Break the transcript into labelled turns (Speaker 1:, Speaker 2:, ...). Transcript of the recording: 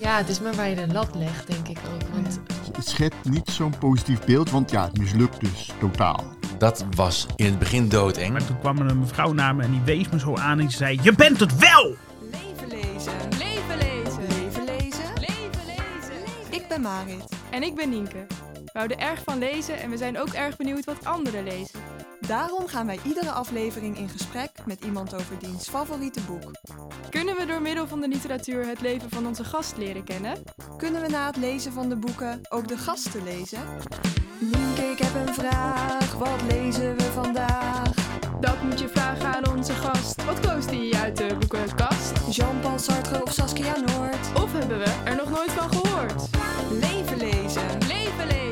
Speaker 1: Ja, het is maar waar je de lat legt, denk ik ook. Want
Speaker 2: Het schetst niet zo'n positief beeld, want ja, het mislukt dus totaal.
Speaker 3: Dat was in het begin doodeng.
Speaker 4: Maar toen kwam er een mevrouw naar me en die wees me zo aan en ze zei: Je bent het wel!
Speaker 5: Leven lezen. Leven lezen. Leven lezen. Leven lezen. Ik ben Marit.
Speaker 6: En ik ben Nienke. We houden erg van lezen en we zijn ook erg benieuwd wat anderen lezen.
Speaker 5: Daarom gaan wij iedere aflevering in gesprek met iemand over diens favoriete boek.
Speaker 6: Kunnen we door middel van de literatuur het leven van onze gast leren kennen?
Speaker 5: Kunnen we na het lezen van de boeken ook de gasten lezen? Nienke, ik heb een vraag. Wat lezen we vandaag?
Speaker 6: Dat moet je vragen aan onze gast. Wat koos die uit de boekenkast?
Speaker 5: Jean-Paul Sartre of Saskia Noord?
Speaker 6: Of hebben we er nog nooit van gehoord?
Speaker 5: Leven lezen.
Speaker 6: Leven lezen.